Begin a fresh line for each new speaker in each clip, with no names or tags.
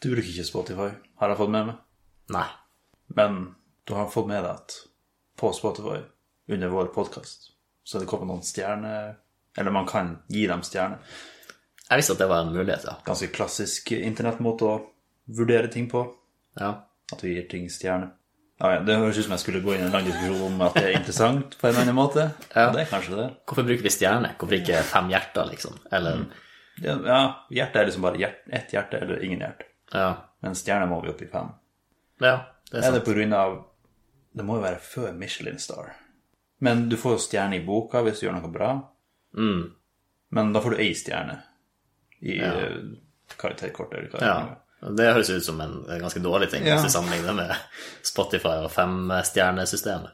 Du bruker ikke Spotify, har jeg fått med meg.
Nei.
Men du har fått med deg at på Spotify, under vår podkast, så er det kommet noen stjerner Eller man kan gi dem stjerner.
Jeg visste at det var en mulighet, ja.
Ganske klassisk internettmåte å vurdere ting på.
ja.
At du gir ting stjerner. Ja, ja, det høres ut som jeg skulle gå inn i en lang diskusjon om at det er interessant på en eller annen måte. Ja. Det er kanskje det.
Hvorfor bruker vi stjerne? Hvorfor ikke fem hjerter, liksom? Eller
Ja, ja, hjertet er liksom bare hjert, ett hjerte eller ingen hjerte.
Ja.
Men stjerner må vi opp i fem.
ja. Det er
Er
sant.
det på grunn av Det må jo være før Michelin Star. Men du får jo stjerne i boka hvis du gjør noe bra.
Mm.
Men da får du ei stjerne i eh, karakterkortet. Eller hva det
Ja.
er.
Det høres ut som en en ganske dårlig ting
Ja.
hvis du sammenligner det med Spotify og femstjernesystemet.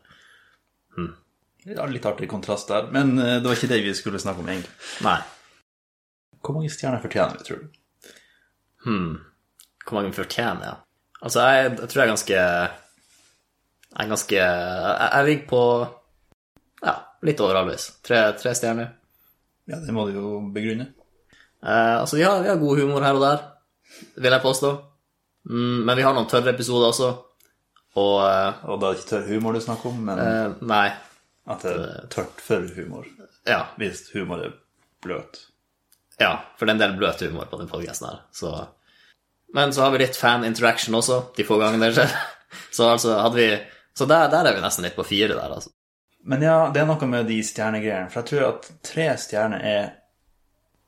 Det er Litt artig kontrast der, men eh, det var ikke det vi skulle snakke om egentlig.
Nei.
Hvor mange stjerner fortjener vi, tror du?
Hmm. Hvor mange fortjener jeg? Altså, jeg, jeg tror jeg er ganske Jeg er ganske Jeg, jeg ligger på ja, litt over halvveis. Tre, tre stjerner.
Ja, det må du jo begrunne.
Eh, altså, vi har, vi har god humor her og der, vil jeg påstå. Mm, men vi har noen tørre episoder også. Og eh,
Og da er det ikke tørr humor du snakker om, men
eh, Nei.
at det er tørt for humor.
Ja.
Hvis humor er bløt.
Ja, for det er en del bløt humor på den podcasten her, så Men så har vi litt fan interaction også, de få gangene det skjer. Så altså hadde vi Så der, der er vi nesten litt på fire der, altså.
Men ja, det er noe med de stjernegreiene. For jeg tror at tre stjerner er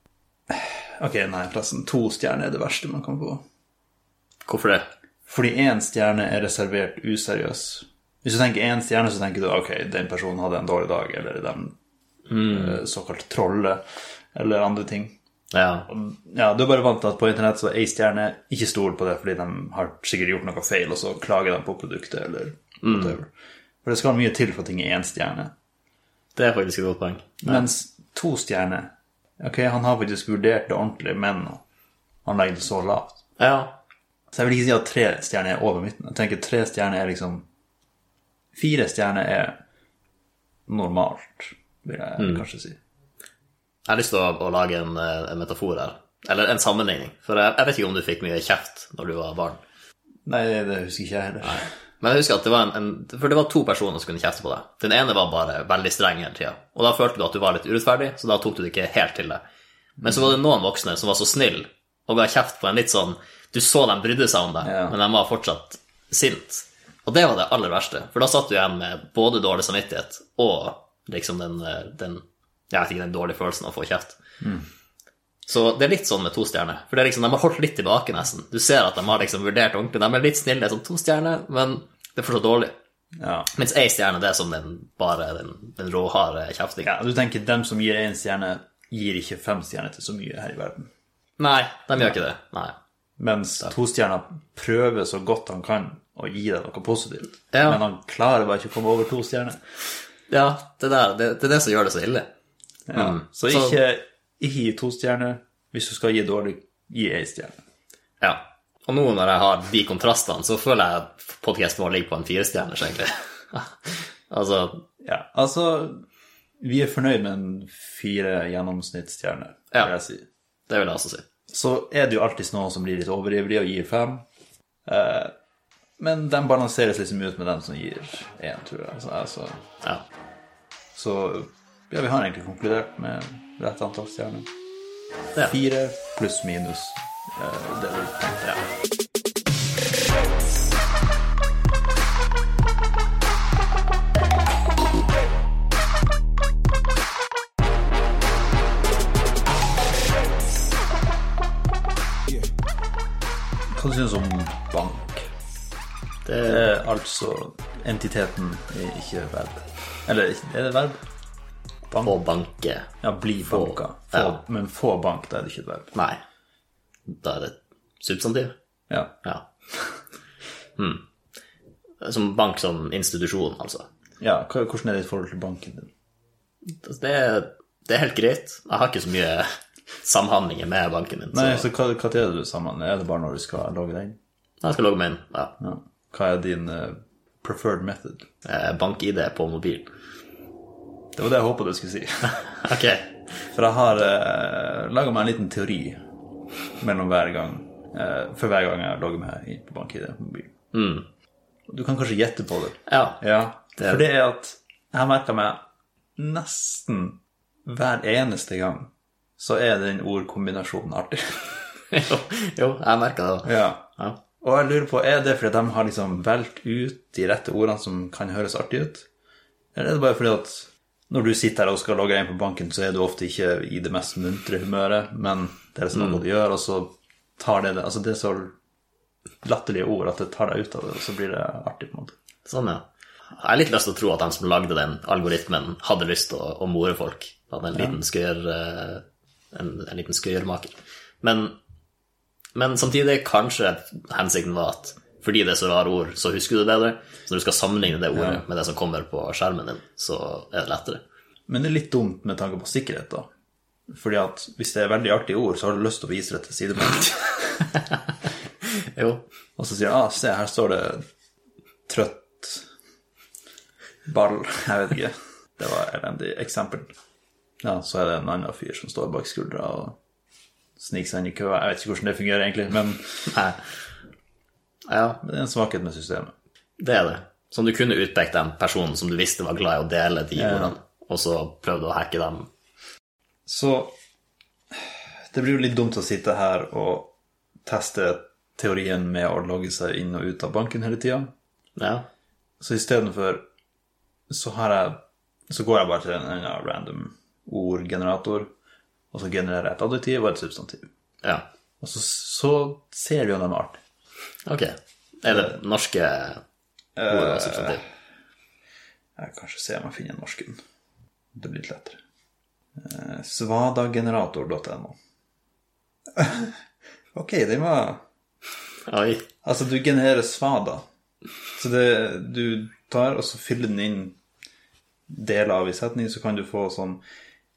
Ok, nei, forresten. To stjerner er det verste man kan få.
Hvorfor det?
Fordi én stjerne er reservert useriøs. Hvis du tenker én stjerne, så tenker du ok, den personen hadde en dårlig dag, eller de eh, såkalt trollet, eller andre ting.
Ja.
Ja, du er bare vant til at på internett så er ei stjerne ikke stol på det fordi de har sikkert gjort noe feil, og så klager de på produktet, eller whatever. For det skal mye til for at ting er én stjerne.
Det er faktisk et godt poeng.
Mens to stjerner Ok, han har faktisk vurdert det ordentlig, men han legger det så lavt.
Ja.
Så jeg vil ikke si at tre stjerner er over midten. Jeg tenker tre stjerner er liksom Fire stjerner er normalt, vil jeg kanskje si.
Jeg har lyst til å, å lage en, eh, en metafor her. Eller en sammenligning. For jeg, jeg vet ikke om du fikk mye kjeft når du var barn.
Nei, det husker ikke jeg heller.
Men jeg husker at det var en, en For det var to personer som kunne kjefte på deg. Den ene var bare veldig streng hele tida, og da følte du at du var litt urettferdig, så da tok du det ikke helt til deg. Men så var det noen voksne som var så snill og ga kjeft på en litt sånn Du så de brydde seg om deg,
Ja.
men de var fortsatt sint. Og det var det aller verste, for da satt du igjen med både dårlig samvittighet og liksom den, eh, den Jeg vet ikke, den dårlige følelsen av å få kjeft. Så det er litt sånn med to stjerner. For det er liksom, de har holdt litt tilbake, nesten. Du ser at de har liksom vurdert ordentlig. De er litt snille, som to stjerner, men det er fortsatt dårlig.
Ja.
Mens ei stjerne, det er som den, bare den, den råharde kjeftingen.
ja, Du tenker dem som gir én stjerne, gir ikke fem stjerner til så mye her i verden.
Nei, de gjør ikke det. Nei.
Mens to stjerner prøver så godt han kan å gi deg noe positivt.
Ja.
Men han klarer bare ikke å komme over to stjerner.
Ja, det der, det, det er det som gjør det så ille.
Ja,
Mm.
Så
Så-
ikke, ikke gi to stjerner. Hvis du skal gi dårlig, gi ei stjerne.
Ja. Og nå når jeg har de kontrastene, så føler jeg at podcasten vår ligger på en firestjerners, egentlig. altså,
Ja, altså Vi er fornøyd med en fire gjennomsnittsstjerne,
Ja.
vil jeg si.
det vil jeg også si.
Så er det jo alltid noen som blir litt overivrige og gir fem. Eh, men de balanseres liksom ut med dem som gir én, tror jeg. Så, altså,
Ja.
så ja, vi har egentlig konkludert med rett antall stjerner.
Ja.
Fire pluss minus. eh, det vi tenkte.
ja.
Hva du synes om bank?
Det,
Det er altså entiteten i ikke verb. Eller er det verb?
å banke.
Ja, bli banka. Få,
ja.
Men få bank, da er det ikke et verb.
Nei. Da er det substantiv.
Ja.
Ja. Mm. Som bank som institusjon, altså.
ja. hva- Hvordan er ditt forhold til banken din?
Det er, det er helt greit. Jeg har ikke så mye samhandlinger med banken min.
Nei, så
Så
hva, hva er det du sammen? Er det bare når du skal logge deg inn?
jeg skal logge meg inn. Ja.
Ja. Hva er din eh, preferred method?
Eh, Bank-ID på mobilen.
Det var det jeg håpet du skulle si.
Ok.
eh, For jeg har uh, laga meg en liten teori mellom hver gang eh, for hver gang jeg logger meg inn på BankID på mobilen.
Mm.
Du kan kanskje gjette på det.
Ja.
Ja,
Det-
for det er at jeg har merka meg nesten hver eneste gang så er den ordkombinasjonen artig.
jo, jo, jeg merka det. også.
ja.
Ja.
Og jeg lurer på, er det fordi de har liksom valgt ut de rette ordene som kan høres artig ut? Eller er det bare fordi at når du sitter her og skal logge deg inn på banken, så er du ofte ikke i det mest muntre humøret, men det er liksom noe du gjør, og så tar det det Altså, det er så latterlige ord at det tar deg ut av det, og så blir det artig, på en måte.
Sånn, ja. Jeg har litt lyst til å tro at de som lagde den algoritmen, hadde lyst til å, å more folk. At en liten skøyer, eh, en, en liten skøyermaker. Men, men samtidig kanskje hensikten var at fordi det er så rare ord, så husker du det bedre. Så når du skal sammenligne det ordet med det som kommer på skjermen din, så er det lettere.
Men det er litt dumt med tanke på sikkerhet, da. Fordi at hvis det er veldig artige ord, så har du lyst til å vise det til sidemannen.
Jo,
Og så sier han ah, se, her står det trøtt ball. Jeg vet ikke. Det var et elendig eksempel. Ja, så er det en annen fyr som står bak skuldra og sniker seg inn i køa. Jeg vet ikke hvordan det fungerer egentlig, men
nei. Ja,
det er en svakhet med systemet.
det er det. Som du kunne utpekt den personen som du visste var glad i å dele de
Ja.
ordene, og så prøvde å hacke dem.
Så det blir jo litt dumt å sitte her og teste teorien med å logge seg inn og ut av banken hele tida.
Ja,
Så istedenfor så har jeg Så går jeg bare til en annen random ordgenerator, og så genererer jeg et adjektiv og et substantiv.
ja.
Og så, så ser vi om de er artige.
Ok. Er det norske ord og substantiv?
Jeg kanskje se om jeg finner en norsk en. Det blir litt lettere. Eh, Svadagenerator.no. ok, den var
Oi.
Altså, du genererer svada. Så det du tar, og så fyller den inn deler av i setning, så kan du få sånn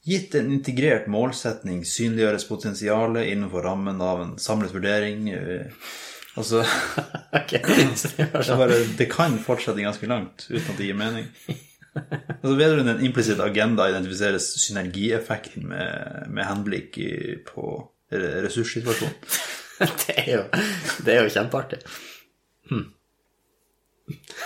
Gitt en integrert målsetning synliggjøres potensialet innenfor rammen av en samlet vurdering. eh, Altså, det,
Ok. Så det var
er
sånn.
bare, det kan fortsette ganske langt uten at det gir mening. Altså, Bedre enn en implisitt agenda identifiseres synergieffekten med, med henblikk i- på re- ressurssituasjonen.
Det er jo, det er jo kjempeartig.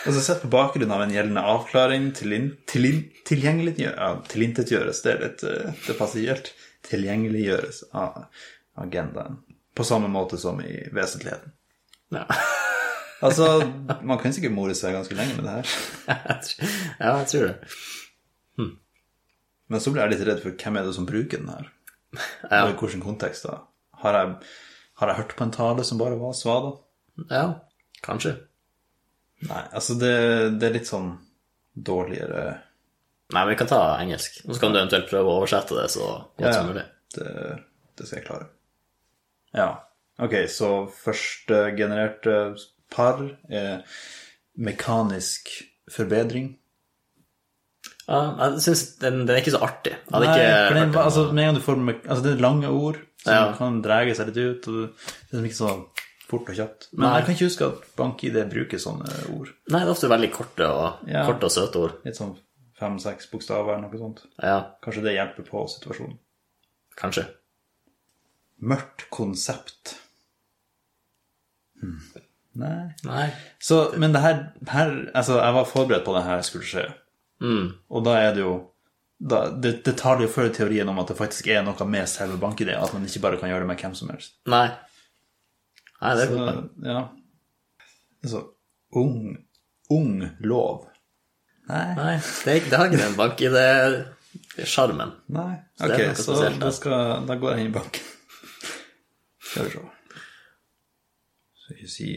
Altså Sett på bakgrunn av en gjeldende avklaring tilin, tilin, tilgjengeliggjø- ja, Tilintetgjøres, det er litt eh, Det passer ikke helt. Tilgjengeliggjøres av agendaen. På samme måte som i vesentligheten.
Ja.
Altså, man kan sikkert more seg ganske lenge med det her.
Jeg tr- ja, jeg tror det.
Men så blir jeg litt redd for hvem er det som bruker den her.
Ja.
Og i hvilken kontekst, da. Har jeg, har jeg hørt på en tale som bare var svada?
Ja, kanskje.
Nei, altså det, det er litt sånn dårligere
Nei, men vi kan ta engelsk. Og så kan du eventuelt prøve å oversette det så godt som mulig.
Det, det skal jeg klare. Ja. Ok, så førstegenererte par er mekanisk forbedring.
Ja, jeg synes den, den er ikke så artig. Jeg hadde
Nei, for
ikke
det,
hørt
er-
den.
altså, med en gang du får me altså, det er lange ord som
Ja.
kan drege seg litt ut. Og det er liksom ikke så fort og kjapt. Men
Nei.
jeg kan ikke huske at BankID bruker sånne ord.
Nei, det er ofte veldig korte og,
Ja.
korte og søte ord.
Litt sånn fem-seks bokstaver eller noe sånt.
Ja,
Kanskje det hjelper på situasjonen.
kanskje.
Mørkt konsept. Hmm. Nei
Nei.
Så, men det her, her Altså, jeg var forberedt på at det her skulle skje. Og da er det jo da, det, det tar det jo før teorien om at det faktisk er noe med selve bankideen, at man ikke bare kan gjøre det med hvem som helst.
Nei. Nei, det er godt.
Så, ja. Altså, ung, ung lov. Nei.
Nei, det, er ikke- det har ikke den bank-ID-sjarmen.
Nei.
det
Ok,
er noe
så
spesielt, da.
da, skal, da går jeg inn i banken. Skal vi se. Skal ikke si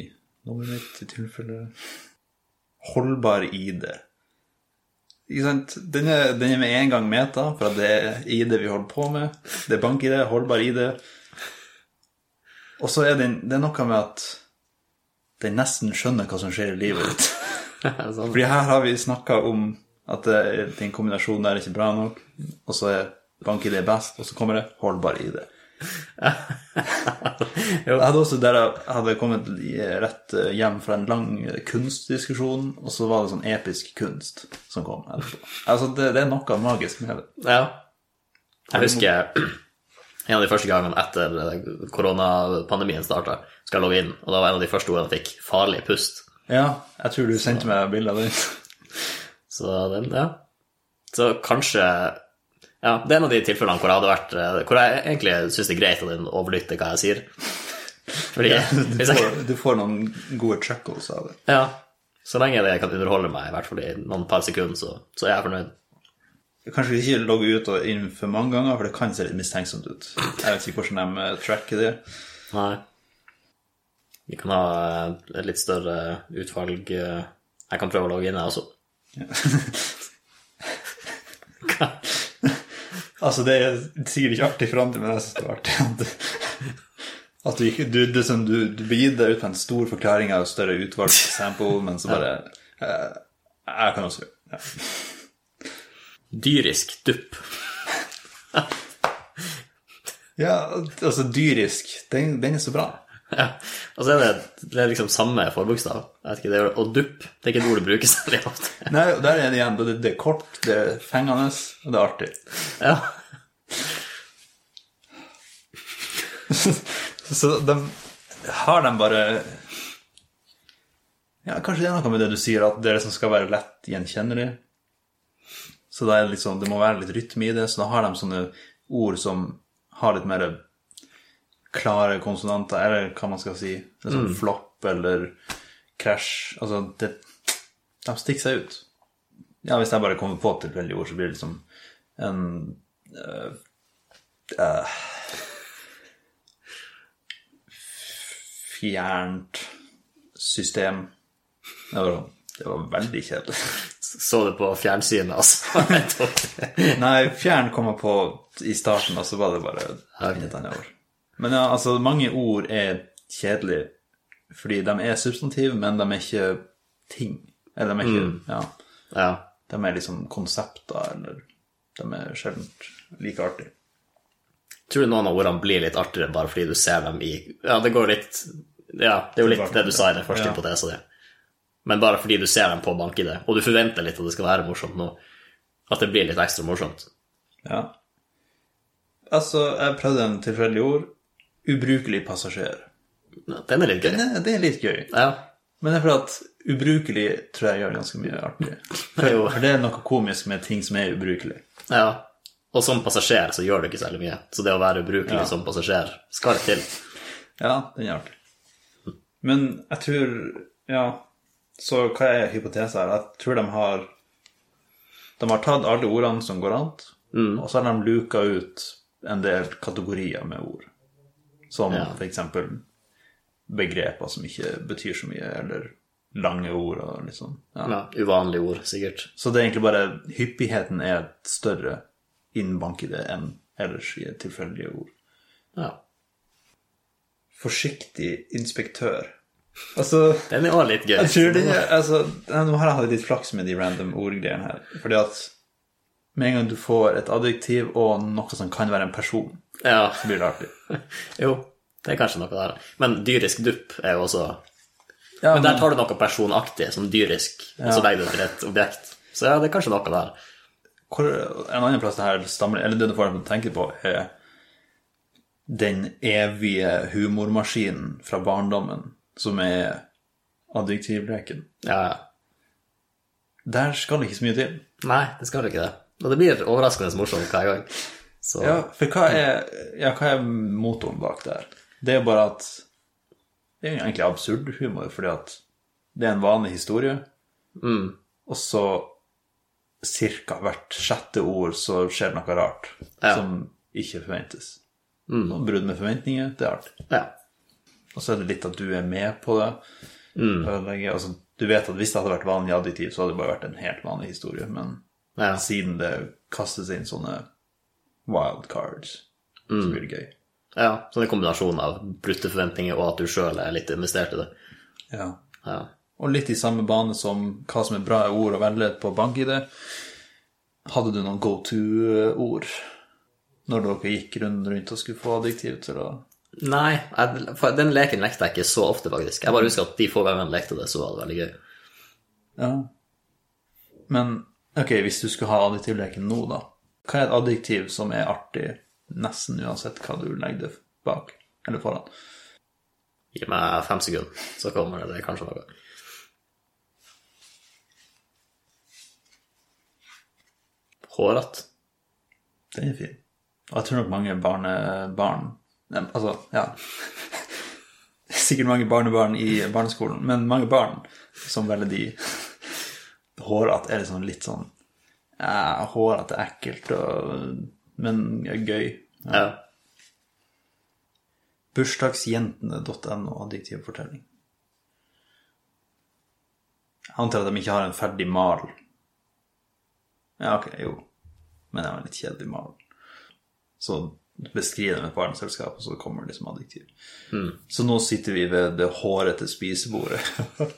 nummeret mitt i tilfelle Holdbar ID. Ikke sant? Den er, den er med en gang meta, for at det er ID vi holder på med. Det er bank-ID, holdbar ID. Og så er den, det er noe med at den nesten skjønner hva som skjer i livet ditt.
sånn.
Fordi her har vi snakka om at det, den kombinasjonen der er ikke bra nok, og så er bank-ID best, og så kommer det holdbar ID.
Jo.
Jeg hadde også der jeg hadde kommet i- rett hjem fra en lang kunstdiskusjon, og så var det sånn episk kunst som kom etterpå. Altså, det, det er noe magisk med det.
Ja. Jeg husker En av de første gangene etter eh, koronapandemien starta, skal jeg logge inn, og da var en av de første ordene jeg fikk, 'farlig pust'.
Ja, jeg tror du sendte meg bilde av den.
Så den, ja. Så kanskje Ja, det er en av de tilfellene hvor jeg hadde vært eh, Hvor jeg egentlig syns det er greit at den overlytter hva jeg sier. Fordi
Du
hvis jeg,
får, du får noen gode chuckles av det.
Ja. Så lenge det kan underholde meg, i hvert fall i noen par sekunder, så, så er jeg fornøyd.
Kanskje ikke logge ut og inn for mange ganger, for det kan se litt mistenksomt ut. Jeg vet ikke hvordan de eh, tracker det.
Nei. Vi kan ha eh, et litt større utvalg eh, Jeg kan prøve å logge inn, jeg også.
Altså, det er sikkert ikke artig for andre, men jeg syns det var artig. At du, at du, ikke- du, det er sånn, du, du begir deg ut på en stor forklaring av større utvalgt sample, men så bare eh, Jeg kan også gjøre det. Ja.
Dyrisk dupp.
Ja, altså, dyrisk, den, den er så bra.
Ja. Og så er det, det er liksom samme forbokstav. Jeg vet ikke, det er, og dupp det er ikke et ord det brukes veldig ofte.
Nei, og der er det igjen. Det, det er kort, det er fengende, og det er artig.
Ja.
Så de har de bare Ja, kanskje det er noe med det du sier, at det er det som skal være lett gjenkjennelig. Så det, er litt sånn- det må være litt rytme i det, så da har de sånne ord som har litt mer klare konsonanter, eller hva man skal si. Det er sånn flopp eller krasj. Altså, det, de stikker seg ut. Ja, hvis jeg bare kommer på tilfeldige ord, så blir det liksom en øh, øh, fjernt system. Det var, sånn- det var veldig kjedelig.
Så det på fjernsynet, altså. Jeg tok det.
Nei, fjern kom jeg på i starten, og så var det bare et annet ord. Men ja, altså, mange ord er kjedelige fordi de er substantiv, men de er ikke ting. Eller de er ikke Ja.
ja.
De er liksom konsepter, eller de er sjelden like artige.
Tror du noen av ordene blir litt artigere bare fordi du ser dem i Ja, det går litt Ja, det er jo litt det du sa i den første
Ja.
hypotesen din. Men bare fordi du ser dem på bank-ID, og du forventer litt at det skal være morsomt nå, at det blir litt ekstra morsomt.
Ja. Altså, jeg prøvde en tilfeldig ord. Ubrukelig passasjer.
Ja, Den er litt gøy.
Det, det er litt gøy.
Ja.
Men det er fordi at ubrukelig tror jeg gjør ganske mye artig. For,
Jo.
for det er noe komisk med ting som er ubrukelig.
ja. Og som passasjer så gjør du ikke særlig mye, så det å være ubrukelig som passasjer skal til.
Ja, den er artig. Men jeg tror Ja, så hva er hypotesen her? Jeg tror de har De har tatt alle ordene som går an, og så har de luka ut en del kategorier med ord. Som
Ja.
for eksempel begreper som ikke betyr så mye, eller lange ord og litt sånn. Ja.
Ja, uvanlige ord, sikkert.
Så det er egentlig bare hyppigheten er større innen bankID enn ellers i tilfeldige ord.
Ja.
Forsiktig inspektør. Altså,
Den er også litt gøy.
jeg tror det altså, ja, Nå har jeg hatt litt flaks med de random ordgreiene her. Fordi at med en gang du får et adjektiv og noe som kan være en person,
Ja.
så blir det artig.
Jo, det er kanskje noe der. Men dyrisk dupp er jo også
Ja,
Men der tar du noe personaktig, som dyrisk, og så legger du det til et objekt. Så ja, det er kanskje noe der.
Hvor, en annen plass det her stammer Eller det du får dem til å tenke på, er den evige humormaskinen fra barndommen, som er adjektivleken.
Ja, ja.
Der skal det ikke så mye til.
Nei, det skal ikke det. Og det blir overraskende morsomt hver gang. Så
Ja, for hva er, ja, hva er motoren bak det her? Det er jo bare at Det er jo egentlig absurd humor, fordi at det er en vanlig historie, og så cirka hvert sjette ord så skjer det noe rart
Ja.
som ikke forventes. Sånn Brudd med forventninger, det er artig.
ja.
Og så er det litt at du er med på det. Ødelegge. Altså, du vet at hvis det hadde vært vanlig adjektiv, så hadde det bare vært en helt vanlig historie, men
ja.
siden det kastes inn sånne wild cards, så blir det gøy.
ja. Så det er en kombinasjon av brutte forventninger og at du sjøl er litt investert i det.
Ja.
Ja.
Og litt i samme bane som hva som er bra ord å velge på bank-ID. Hadde du noen go to-ord når dere gikk rundt, rundt og skulle få adjektiv til å
Nei, jeg, for den leken lekte jeg ikke så ofte, faktisk. Jeg bare husker at de få gangene jeg lekte det, så var det veldig gøy.
Ja. Men ok, hvis du skulle ha adjektivleken nå, da. Hva er et adjektiv som er artig Nesten uansett hva du legger det bak eller foran.
Gi meg fem sekunder, så kommer det kanskje noe. Hårete.
Den er fin. Og jeg tror nok mange barnebarn Nei, Altså, ja. Sikkert mange barnebarn i barneskolen, men mange barn som velger de hårete er liksom litt sånn ja, Hårete er ekkelt, og, men gøy.
Ja.
Bursdagsjentene.no, adjektiv fortelling. Jeg antar at de ikke har en ferdig mal. Ja, ok, jo. Men det var en litt kjedelig mal. Så beskriver de et barneselskap, og så kommer det liksom adjektiv. Så nå sitter vi ved det hårete spisebordet.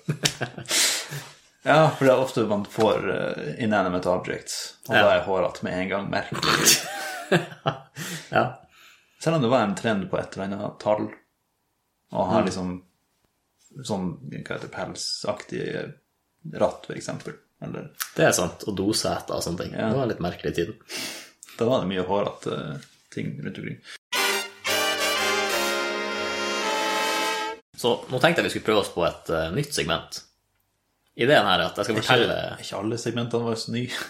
ja, for det er ofte man får eh, inanimate objects, og da er hårete med en gang merkelig.
ja.
Selv om det var en trend på et eller annet tall, og
Mm.
har liksom sånn hva heter det, pelsaktig ratt, for eksempel. Eller,
Det er sant. Og doseter og sånne ting. Det var en litt merkelig i tiden.
da var det mye hårete eh, ting rundt omkring.
Så nå tenkte jeg vi skulle prøve oss på et eh, nytt segment. Ideen her er at jeg skal fortelle
Ikke, ikke alle segmentene var så nye.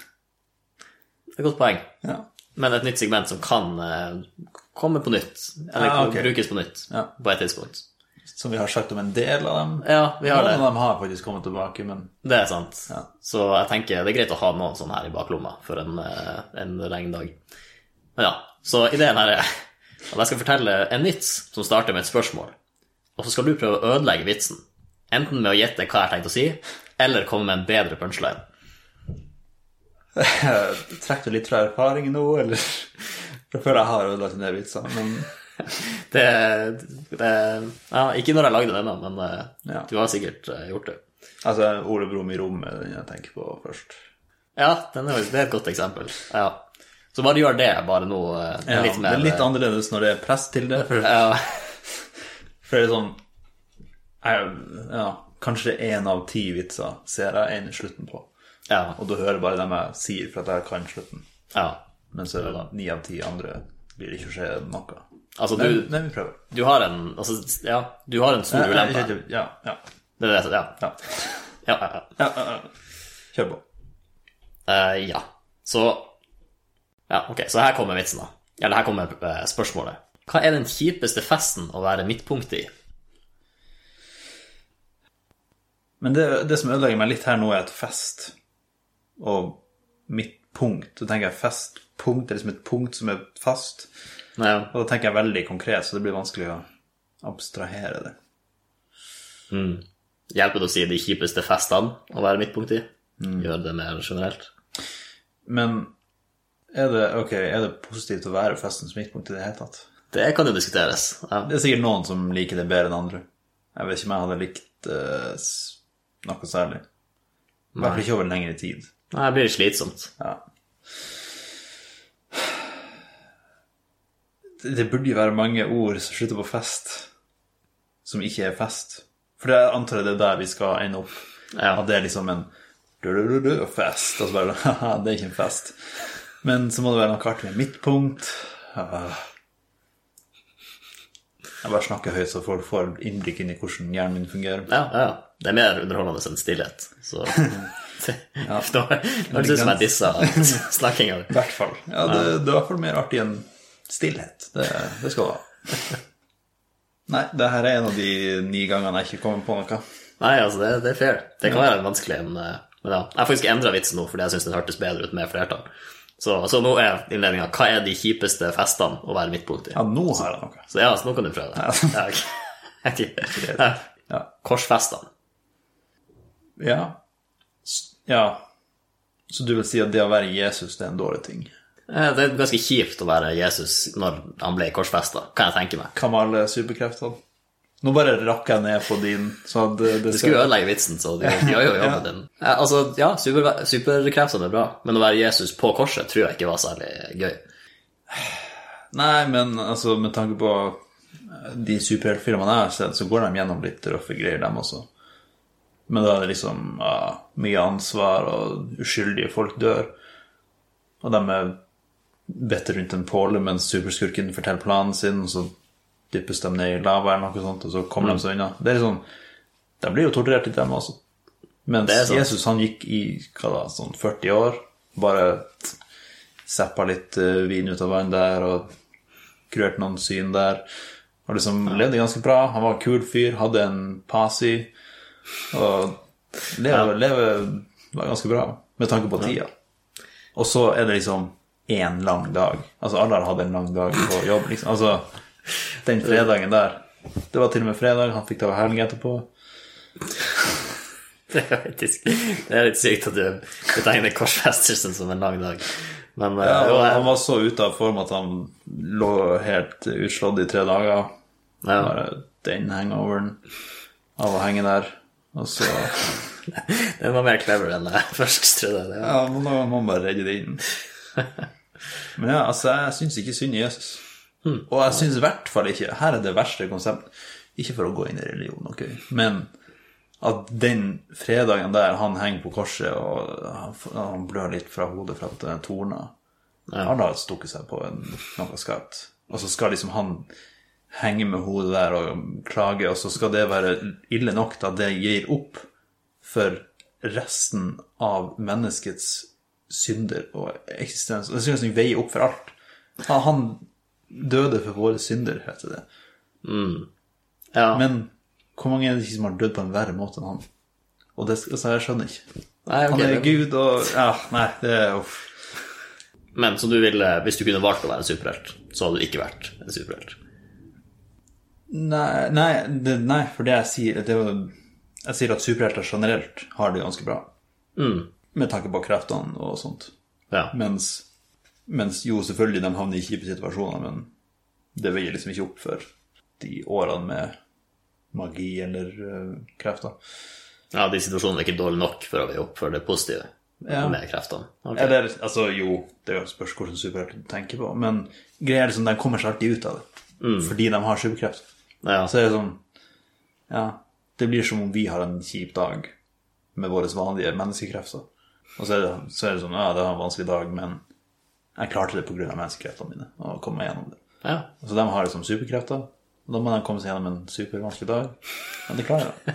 Det er et godt poeng.
ja.
Men et nytt segment som kan eh, komme på nytt. Eller
Ah, ok.
brukes på nytt
Ja.
på et tidspunkt.
Som vi har sagt om en del av dem.
Ja, vi har
Noen
det.
av dem har faktisk kommet tilbake, men
Det er sant.
Ja.
Så jeg tenker det er greit å ha noen sånne her i baklomma for en, eh, en regndag. Men ja, så ideen her er at jeg skal fortelle en vits som starter med et spørsmål. Og så skal du prøve å ødelegge vitsen. Enten med å gjette hva jeg har tenkt å si, eller komme med en bedre punchline.
trekker du litt fra erfaring nå, eller? For jeg føler jeg har ødelagt en del vitser, men
Det, det ja, Ikke når jeg lagde denne, men eh,
Ja.
du har sikkert eh, gjort det.
altså, Ole Brumm i rommet er den jeg tenker på først.
Ja, den er, det er et godt eksempel. Ja. Så bare gjør det, bare nå. eh,
Ja,
litt
det
mer eh,
er litt annerledes når det er press til det, for,
ja,
for det er sånn jeg, ja, Kanskje én av ti vitser ser jeg en i slutten på,
ja,
og du hører bare dem jeg sier for at jeg kan slutten,
ja.
men så er det ni av ti andre blir det ikke å skje noe.
Altså,
Men,
du,
men vi prøver.
du har en altså, Ja, du har en stor ulempe.
Ja, ja, ja,
Det er det, ja.
ja,
Ja, ja, ja.
ja, ja, ja. Kjør på.
Eh, ja. Så Ja, ok, så her kommer vitsen, da. Eller her kommer eh, spørsmålet. Hva er den kjipeste festen å være midtpunkt i?
Men det, det som ødelegger meg litt her nå, er at fest og mitt punkt Da tenker jeg festpunkt er liksom et punkt som er fast.
Nei,
Og da tenker jeg veldig konkret, så det blir vanskelig å abstrahere det.
Hjelper det å si de kjipeste festene å være midtpunkt i?
Mm.
Gjør det mer generelt?
Men er det, ok, er det positivt å være festens midtpunkt i det hele tatt?
Det kan jo diskuteres. Ja.
Det er sikkert noen som liker det bedre enn andre. Jeg vet ikke om jeg hadde likt eh, s- noe særlig. I hvert fall ikke over lengre tid.
Nei, det blir slitsomt.
Ja. Det det burde jo være mange ord som slutter på fest, som ikke er fest. For jeg antar det er der vi skal ende opp.
Ja.
At det er liksom en du-du-du-du-fest, og så bare Haha, det er ikke en fest. Men så må det være noe artig med midtpunkt. Ah. Jeg bare snakker høyt, så folk får innblikk inn i hvordan hjernen min fungerer.
Ja, ja, ja. Det er mer underholdende enn stillhet. Så ja. Nå høres det ut som jeg dissa snakkinga.
I hvert fall. Ja, det, det er i hvert fall mer artig enn stillhet. Det, det skal du ha. Nei, det her er en av de ni gangene jeg ikke kommer på noe.
Nei, altså, det, det er fair. Det kan være vanskelig, men, eh, men ja. Jeg har faktisk endra vitsen nå, fordi jeg syns den hørtes bedre ut med flertall. Så, så nå er innledninga 'Hva er de kjipeste festene å være midtpunkt i?'
Ja, nå har jeg noe.
Så ja, så nå kan du prøve det. Ja, ok. Ja.
Ja.
Korsfestene.
Ja. S- ja. Så du vil si at det å være Jesus, det er en dårlig ting?
Eh, Det er ganske kjipt å være Jesus når han ble korsfesta, kan jeg tenke meg.
Hva med alle superkreftene? Nå bare rakker jeg ned på din, så at det, det
Du skulle ødelegge vitsen, så de, de gjør jo jobben din. Eh, Altså, ja, super, superkreftene er bra, men å være Jesus på korset tror jeg ikke var særlig gøy.
Nei, men altså, med tanke på eh, de superheltfilmene jeg har sett, så går de gjennom litt røffe greier, dem også. Men da er det liksom ja, mye ansvar, og uskyldige folk dør. Og de er better rundt en påle mens superskurken forteller planen sin, og så dyppes de ned i lava eller noe sånt, og så kommer de seg unna. Det er sånn, De blir jo torturert litt, dem også. Mens
Det er sant.
Jesus han gikk i hva da, sånn 40 år, bare zappa litt eh, vin ut av vann der og kurerte noen syn der. Og liksom levde ganske bra. Han var en kul fyr, hadde en pasi. Og lever, lever var ganske bra, med tanke på tida. Og så er det liksom én lang dag. Altså, alle har hatt en lang dag på jobb, liksom. Altså, den fredagen der. Det var til og med fredag, han fikk ta helg etterpå.
Det er faktisk Det er litt sykt at du betegner korsfestelsen som en lang dag. Men eh,
Ja,
jo,
og
jeg-
han var så ute av form at han lå helt utslått i tre dager.
ja,
Bare den hangoveren av å henge der. Og så
den var mer clever enn jeg først trodde. Det var.
Ja, men da må man bare redde det inn. Men ja, altså, jeg syns ikke synd i Jesus. Og jeg syns i hvert fall ikke Her er det verste konseptet. Ikke for å gå inn i religion, ok, men at den fredagen der han henger på korset og han, han blør litt fra hodet fra at den torna Han har stukket seg på en, noe skarpt. Og så skal liksom han henge med hodet der og klage, og så skal det være ille nok til at det gir opp for resten av menneskets synder og eksistens. Og Det synes jeg veier opp for alt. Han, han døde for våre synder, heter det.
Ja.
Men hvor mange er det ikke som har dødd på en verre måte enn han? Og det, altså, jeg skjønner ikke.
Nei, ok,
Han er
det-
Gud og Ja, nei, det er uff.
Men så du ville, hvis du kunne valgt å være en superhelt, så hadde du ikke vært en superhelt.
Nei, nei, det, nei for det jeg sier det er jo- Jeg sier at superhelter generelt har det ganske bra. Med tanke på kreftene og sånt.
Ja.
Mens, mens jo, selvfølgelig, de havner i kjipe situasjoner, men det veier liksom ikke opp for de årene med magi eller eh, krefter.
ja, de situasjonene er ikke dårlige nok for å veie opp for det positive
Ja.
med kreftene. Ok.
Eller altså, jo, det er jo et spørsmål hvordan superhelter tenker på, men greia er liksom de kommer seg alltid ut av det. Fordi de har superkrefter.
Ja,
Så er det sånn Ja, det blir som om vi har en kjip dag med våre vanlige menneskekrefter. Og så er, det, så er det sånn Ja, det var en vanskelig dag, men jeg klarte det pga. menneskekreftene mine. Og kom meg gjennom det.
ja.
Og så de har liksom superkrefter. Og da må de komme seg gjennom en supervanskelig dag. Men det klarer de.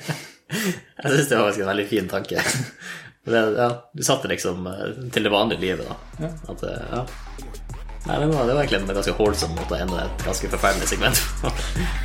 Jeg syns det var faktisk en veldig fin tanke. Det, ja, du satte liksom eh, til det vanlige livet, da. At, eh, ja. Nei, det var, det var egentlig en ganske holdsom måte å ende et ganske forferdelig segment på.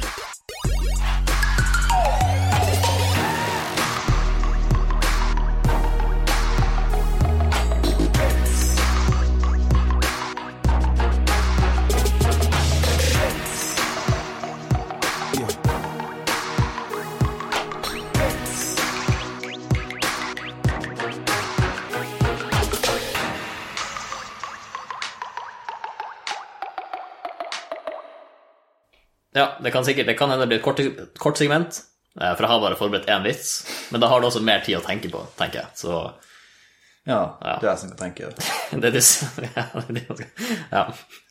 Ja, det kan sikkert det kan hende det blir et kort, kort segment, eh, for jeg har bare forberedt én vits. Men da har du også mer tid å tenke på, tenker jeg. Så
Ja, det er jeg som tenker det.
det du s- ja, det er det man skal- ja.